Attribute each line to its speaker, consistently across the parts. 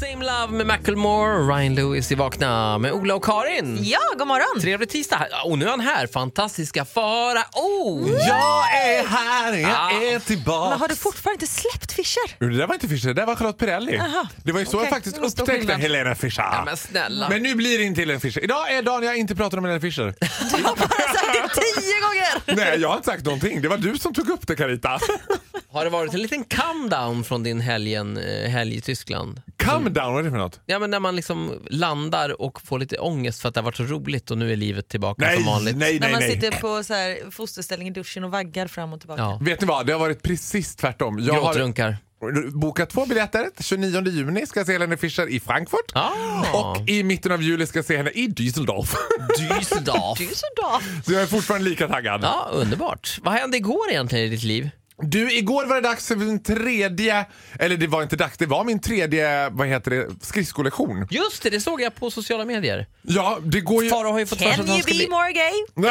Speaker 1: Same Love med Macklemore, Ryan Lewis i Vakna med Ola och Karin.
Speaker 2: Ja, god morgon!
Speaker 1: Trevlig tisdag. Och nu är han här, fantastiska fara. Oh!
Speaker 3: Jag är här, jag
Speaker 1: Ah.
Speaker 3: är tillbaka!
Speaker 2: Men har du fortfarande inte släppt Fischer?
Speaker 3: Det där var inte Fischer, det där var Charlotte Perrelli. det var ju så
Speaker 2: okej.
Speaker 3: jag faktiskt
Speaker 2: Det var stor
Speaker 3: upptäckte
Speaker 2: skillnad.
Speaker 3: Helena Fischer.
Speaker 1: Ja, men snälla.
Speaker 3: Men nu blir det inte Helena Fischer. Idag är dagen jag inte pratar om Helena Fischer.
Speaker 2: Du har bara sagt det tio gånger!
Speaker 3: Nej, jag har inte sagt någonting. Det var du som tog upp det Carita.
Speaker 1: Har det varit en liten calm down från din helgen, eh, helg i Tyskland?
Speaker 3: Come down, vad är det för något?
Speaker 1: Ja, men när man liksom landar och får lite ångest för att det har varit så roligt och nu är livet tillbaka
Speaker 3: Nej,
Speaker 1: som
Speaker 3: nej,
Speaker 1: vanligt.
Speaker 3: nej,
Speaker 2: När man
Speaker 3: nej.
Speaker 2: sitter på så här fosterställning i duschen och vaggar fram och tillbaka.
Speaker 1: Ja.
Speaker 3: Vet ni vad, det har varit precis tvärtom. Jag har
Speaker 1: Gråtrunkar.
Speaker 3: bokat två biljetter. 29 juni ska jag se Helena Fischer i Frankfurt.
Speaker 1: Ah.
Speaker 3: Och i mitten av juli ska jag se henne i Düsseldorf.
Speaker 2: Du är
Speaker 1: Düsseldorf.
Speaker 2: så dag.
Speaker 3: Så jag är fortfarande lika taggad.
Speaker 1: Ja, underbart. Vad hände igår egentligen i ditt liv?
Speaker 3: Du, igår var det dags för min tredje, eller det var inte dags, det var min tredje, vad heter det, skridskollektion.
Speaker 1: Just det, det såg jag på sociala medier.
Speaker 3: Ja, det går ju...
Speaker 1: Faro har ju fått för sig
Speaker 2: Can
Speaker 1: att han
Speaker 2: you
Speaker 1: ska
Speaker 2: be
Speaker 1: bli,
Speaker 2: more gay?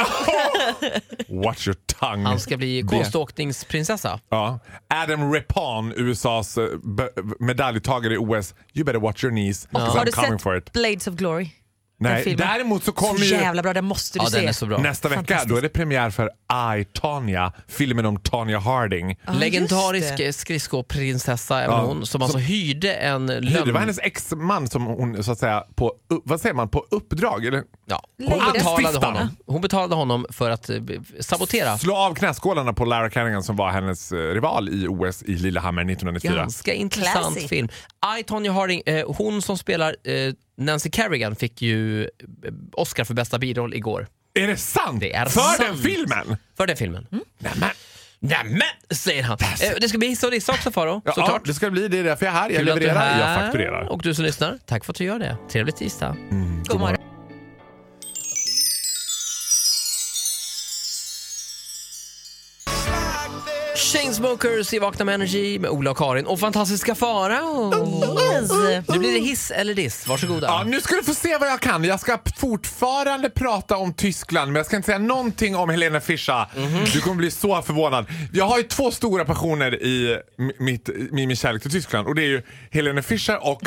Speaker 3: Watch your tongue.
Speaker 1: han ska bli
Speaker 3: Det-
Speaker 1: konståkningsprinsessa.
Speaker 3: Ja. Adam Repan, USAs eh, be- medaljtagare i OS. You better watch your knees.
Speaker 2: Och
Speaker 3: 'cause
Speaker 2: har
Speaker 3: I'm
Speaker 2: du
Speaker 3: coming for
Speaker 2: sett
Speaker 3: it.
Speaker 2: Blades of Glory?
Speaker 3: Nej,
Speaker 2: filmen?
Speaker 3: däremot så
Speaker 2: Så
Speaker 3: kommer ju
Speaker 2: jävla bra, den måste du
Speaker 1: Ja,
Speaker 2: se.
Speaker 1: den är så bra.
Speaker 3: nästa vecka, då är det premiär för I, Tanya, filmen om Tanya Harding.
Speaker 2: Ja, just det.
Speaker 1: Legendarisk skridskoprinsessa även
Speaker 3: Ja.
Speaker 1: hon som alltså hyrde en
Speaker 3: Hur,
Speaker 2: Mm.
Speaker 3: Det var
Speaker 1: lönn...
Speaker 3: hennes exman som hon så att säga på, upp- vad säger man, på uppdrag eller?
Speaker 1: Ja, hon,
Speaker 2: Lejdades.
Speaker 1: betalade
Speaker 3: Anstiftan.
Speaker 1: honom. hon betalade honom för att eh, sabotera.
Speaker 3: Slå av knäskålarna på Lara Carringan som var hennes eh, rival i OS i Lillehammer 1994.
Speaker 1: Ganska intressant
Speaker 2: Classy.
Speaker 1: film. I, Tonya Harding, eh, hon som spelar eh, Nancy Kerrigan fick ju eh, Oscar för bästa biroll igår.
Speaker 3: Är det sant?
Speaker 1: Det är
Speaker 3: För
Speaker 1: sant.
Speaker 3: den filmen?
Speaker 1: För den filmen.
Speaker 2: Mm.
Speaker 1: Nämen! Nämen, säger han. Eh, det ska bli hiss och dissa också Faro,
Speaker 3: Ja,
Speaker 1: såklart.
Speaker 3: det ska bli det. Det är därför jag är här. Jag
Speaker 1: Kul att du är
Speaker 3: levererar, jag
Speaker 1: här.
Speaker 3: fakturerar.
Speaker 1: Och du som lyssnar, tack för att du gör det. Trevlig tisdag.
Speaker 2: God morgon.
Speaker 1: Chainsmokers i Vakna med Energy med Ola och Karin och fantastiska Farao.
Speaker 2: Yes.
Speaker 1: Nu blir det hiss eller diss. Varsågoda.
Speaker 3: Ja, nu ska du få se vad jag kan. Jag ska fortfarande prata om Tyskland, men jag ska inte säga någonting om Helena Fischer.
Speaker 1: Mhm.
Speaker 3: Du kommer bli så förvånad. Jag har ju två stora passioner i mi- mitt, i min kärlek till Tyskland och det är ju Helena Fischer och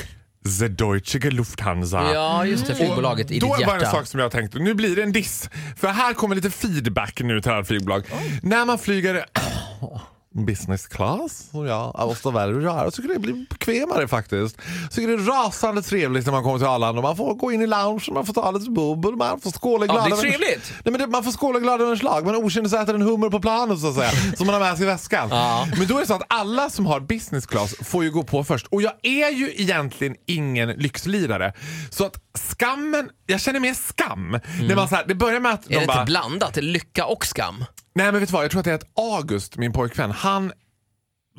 Speaker 3: The Deutsche Lufthansa.
Speaker 1: Ja, just det. Flygbolaget i
Speaker 3: Då
Speaker 1: ditt
Speaker 3: var det en
Speaker 1: hjärta.
Speaker 3: sak som jag tänkte, nu blir det en diss. För här kommer lite feedback nu till alla flygbolag. När man flyger business class, som jag jag måste välja att göra, så kan det bli bekvämare faktiskt. Så tycker det är rasande trevligt när man kommer till Arlanda. och Man får gå in i loungen, man får ta lite bubbel, man får skåla
Speaker 1: Ja,
Speaker 3: glada
Speaker 1: det är
Speaker 3: över-
Speaker 1: trevligt.
Speaker 3: Nej, men det, man får skåla glad över en slag. Man okänner sig äter en hummer på planet så att säga, som man har med sig i väskan.
Speaker 1: Ja.
Speaker 3: Men då är det så att alla som har business class får ju gå på först. Och jag är ju egentligen ingen lyxlirare. Så att skammen, jag känner mer skam. När man så här, det börjar med att
Speaker 1: Mm. Är det
Speaker 3: de bara,
Speaker 1: inte blandat? Lycka och skam?
Speaker 3: nej men vet du vad, jag tror att det är att August, min pojkvän, han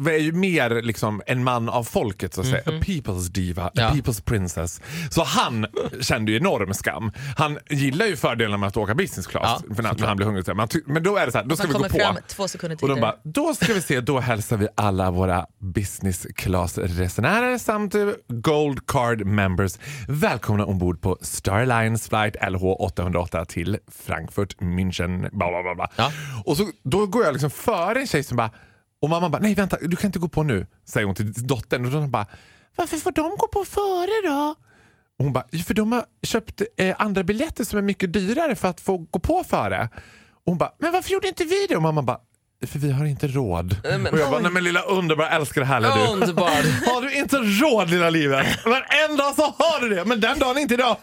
Speaker 3: är ju mer liksom en man av folket så att säga. A people's diva, a
Speaker 1: Mhm. Ja.
Speaker 3: people's princess. Så han kände ju enorm skam. Han gillar ju fördelarna med att åka business class
Speaker 1: Ja,
Speaker 3: för när, när han blir hungrig. så här. Men, han ty- men då är det så här, då ska
Speaker 2: Man
Speaker 3: vi gå
Speaker 2: kommer
Speaker 3: på.
Speaker 2: fram två sekunder
Speaker 3: Och de
Speaker 2: tidigare.
Speaker 3: bara, då ska vi se, då hälsar vi alla våra business class-resenärer samt eh, gold card members välkomna ombord på Star Alliance flight LH808 till Frankfurt, München, bla bla bla. bla.
Speaker 1: Ja.
Speaker 3: Och så, då går jag liksom före en tjej som bara, och mamma bara, nej vänta, du kan inte gå på nu, säger hon till dottern. Och då bara, varför får de gå på före då? Och hon bara, "Ja, för de har köpt eh, andra biljetter som är mycket dyrare för att få gå på före. Och hon bara, men varför gjorde inte vi det? Och mamma bara, för vi har inte råd. och jag bara, nej men lilla underbara älskar det här lilla du.
Speaker 1: Underbar!
Speaker 3: Har du inte råd lilla livet? Men en dag så har du det, men den dagen är inte idag.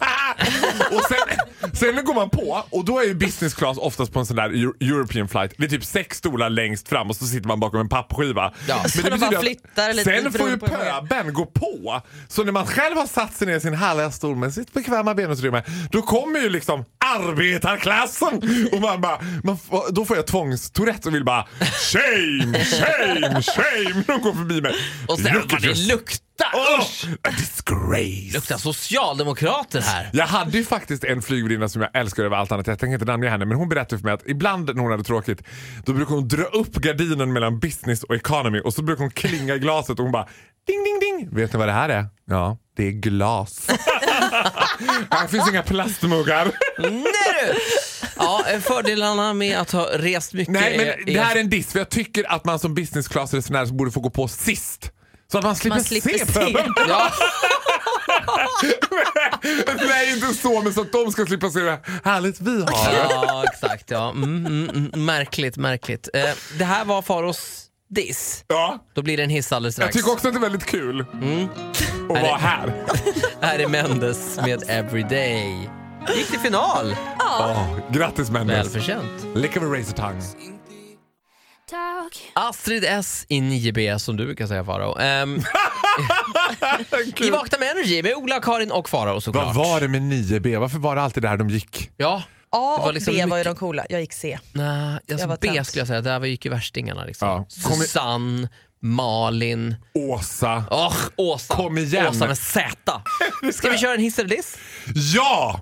Speaker 3: och sen, sen går man på och då är ju business class oftast på en sån där Eu- European flight. Det är typ sex stolar längst fram och så sitter man bakom en pappskiva.
Speaker 1: Ja.
Speaker 3: Men
Speaker 2: Så de bara
Speaker 3: betyder att
Speaker 2: flyttar lite
Speaker 3: sen får ju
Speaker 2: beroende på vad det är.
Speaker 3: pöben gå på. Så när man själv har satt sig ner i sin härliga stol med sitt bekväma benutrymme, då kommer ju liksom arbetarklassen. Och man bara, man, f- då får jag tvångstourette och vill bara shame, shame, shame. De går förbi mig.
Speaker 1: Och sen,
Speaker 3: Look
Speaker 1: vad
Speaker 3: at
Speaker 1: det
Speaker 3: your-
Speaker 1: luktar!
Speaker 3: Oh,
Speaker 1: Usch!
Speaker 3: a disgrace.
Speaker 1: Luktar socialdemokrater här.
Speaker 3: Jag hade ju faktiskt en flygvärdinna som jag älskar över allt annat. Jag tänker inte namnge henne men hon berättade för mig att ibland när hon hade tråkigt då brukade hon dra upp gardinen mellan business och economy och så brukade hon klinga i glaset och hon bara ding ding ding. Vet ni vad det här är? Ja, det är glas. här finns inga plastmuggar.
Speaker 1: Nej du! Ja, eh, fördelarna med att ha rest mycket
Speaker 3: Nej
Speaker 1: är-
Speaker 3: men det här är en diss för jag tycker att man som business class resenär borde få gå på sist. Så att man slipper,
Speaker 2: Man slipper
Speaker 3: se
Speaker 2: se.
Speaker 3: pöbeln.
Speaker 1: Ja,
Speaker 3: Nej inte så men så att de ska slippa se hur härligt vi har det.
Speaker 1: ja exakt. Ja. Mm, mm, mm, märkligt, märkligt. Eh, det här var Faros diss.
Speaker 3: Ja.
Speaker 1: Då blir det en hiss alldeles
Speaker 3: Jag
Speaker 1: strax.
Speaker 3: tycker också att det är väldigt kul
Speaker 2: Mm.
Speaker 3: att vara här.
Speaker 1: Här är Mendes med Everyday. Gick till final.
Speaker 3: Åh, grattis
Speaker 1: Mm.
Speaker 3: Mendes!
Speaker 1: Välförtjänt.
Speaker 3: Lick of a razor tongue.
Speaker 4: Talk.
Speaker 1: Astrid S i 9B som du brukar säga Faro. Ehm, I
Speaker 3: Kul.
Speaker 1: Vakna med Energy med Ola, Karin och Faro såklart.
Speaker 3: Vad var det med 9B? Varför var det alltid där de gick?
Speaker 1: Ja.
Speaker 2: A
Speaker 1: Det var
Speaker 2: och
Speaker 1: liksom
Speaker 2: B var ju
Speaker 1: mycket-
Speaker 2: de coola. Jag gick C.
Speaker 1: Nej, alltså
Speaker 2: Jag var
Speaker 1: B
Speaker 2: tönt.
Speaker 1: skulle jag säga. Där var- gick ju värstingarna. Liksom.
Speaker 3: Ja. Kom i-
Speaker 1: Susanne, Malin,
Speaker 3: Åsa.
Speaker 1: oh, Åsa.
Speaker 3: Kom igen.
Speaker 1: Åsa med Z. Ska vi köra en hiss eller diss?
Speaker 3: Ja!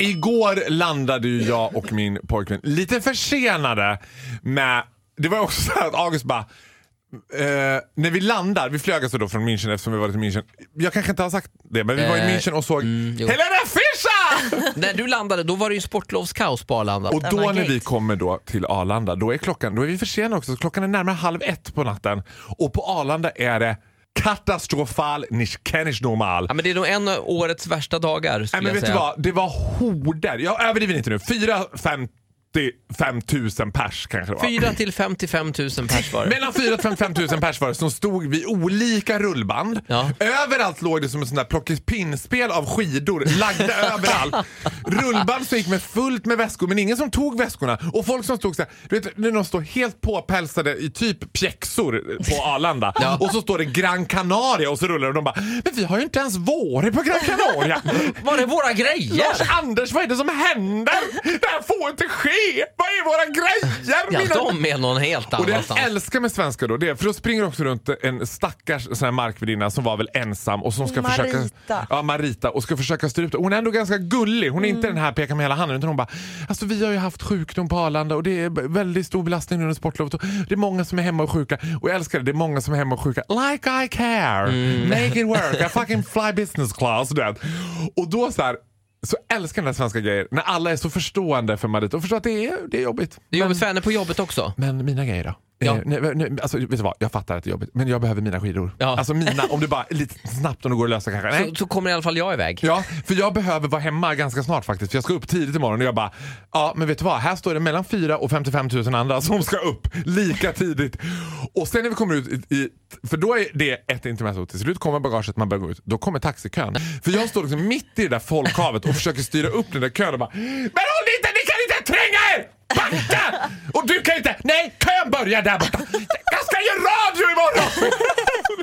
Speaker 3: Igår landade ju jag och min pojkvän lite försenade med... Det var också så här att August bara... Eh, när vi landar, vi flög alltså då från München eftersom vi var i München. Jag kanske inte har sagt det, men vi var i
Speaker 1: Eh,
Speaker 3: München och såg
Speaker 1: jo.
Speaker 3: Helena Fischer!
Speaker 1: När du landade då var det ju sportlovskaos på Arlanda.
Speaker 3: Och då
Speaker 2: Denna
Speaker 3: när vi
Speaker 2: gate.
Speaker 3: kommer då till Arlanda, då är klockan, då är vi försenade också. Så klockan är närmare halv ett på natten och på Arlanda är det katastrofal, nicht kennisch normal.
Speaker 1: Ja, men det är nog en av årets värsta dagar skulle
Speaker 3: Nej,
Speaker 1: jag
Speaker 3: men vet du
Speaker 1: säga.
Speaker 3: vad? Det var horder. Jag överdriver inte nu. 4 5 000 pers kanske det var.
Speaker 1: 4 till 55 000 pers var det.
Speaker 3: Mellan 4 och 55 000 pers var det som stod vid olika rullband.
Speaker 1: Ja.
Speaker 3: Överallt låg det som ett sånt där plockepinnspel av skidor lagda överallt. Rullband som gick med fullt med väskor men ingen som tog väskorna. Och folk som stod så här, du vet när de står helt påpälsade i typ pjäxor på Arlanda och så står det Gran Canaria och så rullar de och de bara “Men vi har ju inte ens varit på Gran Canaria!”
Speaker 1: Var det våra grejer?
Speaker 3: Lars Anders, vad är det som händer? Det här får inte ske! Vad är våra grejer?
Speaker 1: Ja,
Speaker 3: Mina-
Speaker 1: de är någon helt
Speaker 3: och det
Speaker 1: annanstans.
Speaker 3: jag älskar med svenskar då, det är, för då springer också runt en stackars sån här markvärdinna som var väl ensam och som ska försöka...
Speaker 2: Marita.
Speaker 3: Ja, Marita. Och ska försöka styra upp det. Hon är ändå ganska gullig. Hon är inte den här peka med hela handen utan hon bara, alltså vi har ju haft sjukdom på Arlanda och det är b- väldigt stor belastning nu under sportlovet och det är många som är hemma och sjuka. Och jag älskar det, det är många som är hemma och sjuka. Like I care! Make it work! I fucking fly business class! Du vet. Och då så här, så älskar jag den här svenska grejer när alla är så förstående för Marita och förstår att det är, det är jobbigt.
Speaker 1: Det är jobbigt för henne på jobbet också.
Speaker 3: Men mina grejer då?
Speaker 1: Ja.
Speaker 3: Eh, nej, nej, alltså, vet du vad? Jag fattar att det är jobbigt, men jag behöver mina skidor.
Speaker 1: Ja.
Speaker 3: Alltså mina, om du bara lite snabbt om det går att lösa kanske. Nej.
Speaker 1: Så, så kommer i alla fall jag iväg.
Speaker 3: Ja, för jag behöver vara hemma ganska snart faktiskt. För jag ska upp tidigt imorgon och jag bara, ja men vet du vad? Här står det mellan 4 och 55 000 andra som ska upp lika tidigt. Och sen när vi kommer ut i, i för då är det ett intermezzo. Till slut kommer bagaget, man börjar gå ut. Då kommer taxikön. För jag står liksom mitt i det där folkhavet och försöker styra upp den där kön och bara, men håll inte, ni kan inte tränga er! Backa! Och du kan inte, nej kön börjar där borta. Jag ska göra radio imorgon!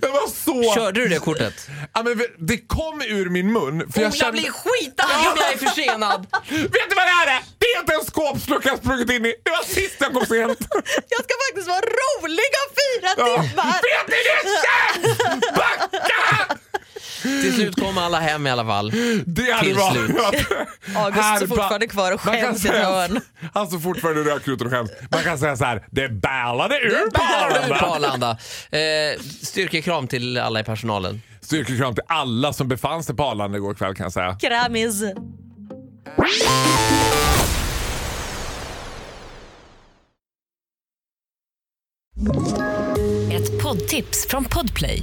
Speaker 3: Jag var så...
Speaker 1: Körde du det kortet?
Speaker 3: Ja, men det kom ur min mun. För jag
Speaker 1: Ola
Speaker 3: kände...
Speaker 1: blir skitarg om jag är försenad.
Speaker 3: Vet du vad det här är? Det är inte en skåpslucka jag sprungit in i. Det var sist jag kom sent.
Speaker 2: Jag ska faktiskt vara rolig om fyra
Speaker 3: Ja.
Speaker 2: timmar!
Speaker 3: Vet ni det? Käft! Backa!
Speaker 1: Till slut kom alla hem i alla fall.
Speaker 3: Det hade
Speaker 1: Till
Speaker 3: varit...
Speaker 1: slut.
Speaker 2: August
Speaker 3: Här
Speaker 2: står fortfarande
Speaker 3: ba-
Speaker 2: kvar och
Speaker 3: Man kan
Speaker 2: skäms i ett
Speaker 3: säga-
Speaker 2: hörn.
Speaker 3: Han står fortfarande och röker ut och skäms. Man kan säga så här, det bälade ur på
Speaker 1: Bara på
Speaker 3: Arlanda.
Speaker 1: Arlanda. Eh, styrkekram till alla i personalen.
Speaker 3: Styrkekram till alla som befann sig på Arlanda igår kväll kan jag säga.
Speaker 2: Kramis.
Speaker 5: Ett poddtips från Podplay.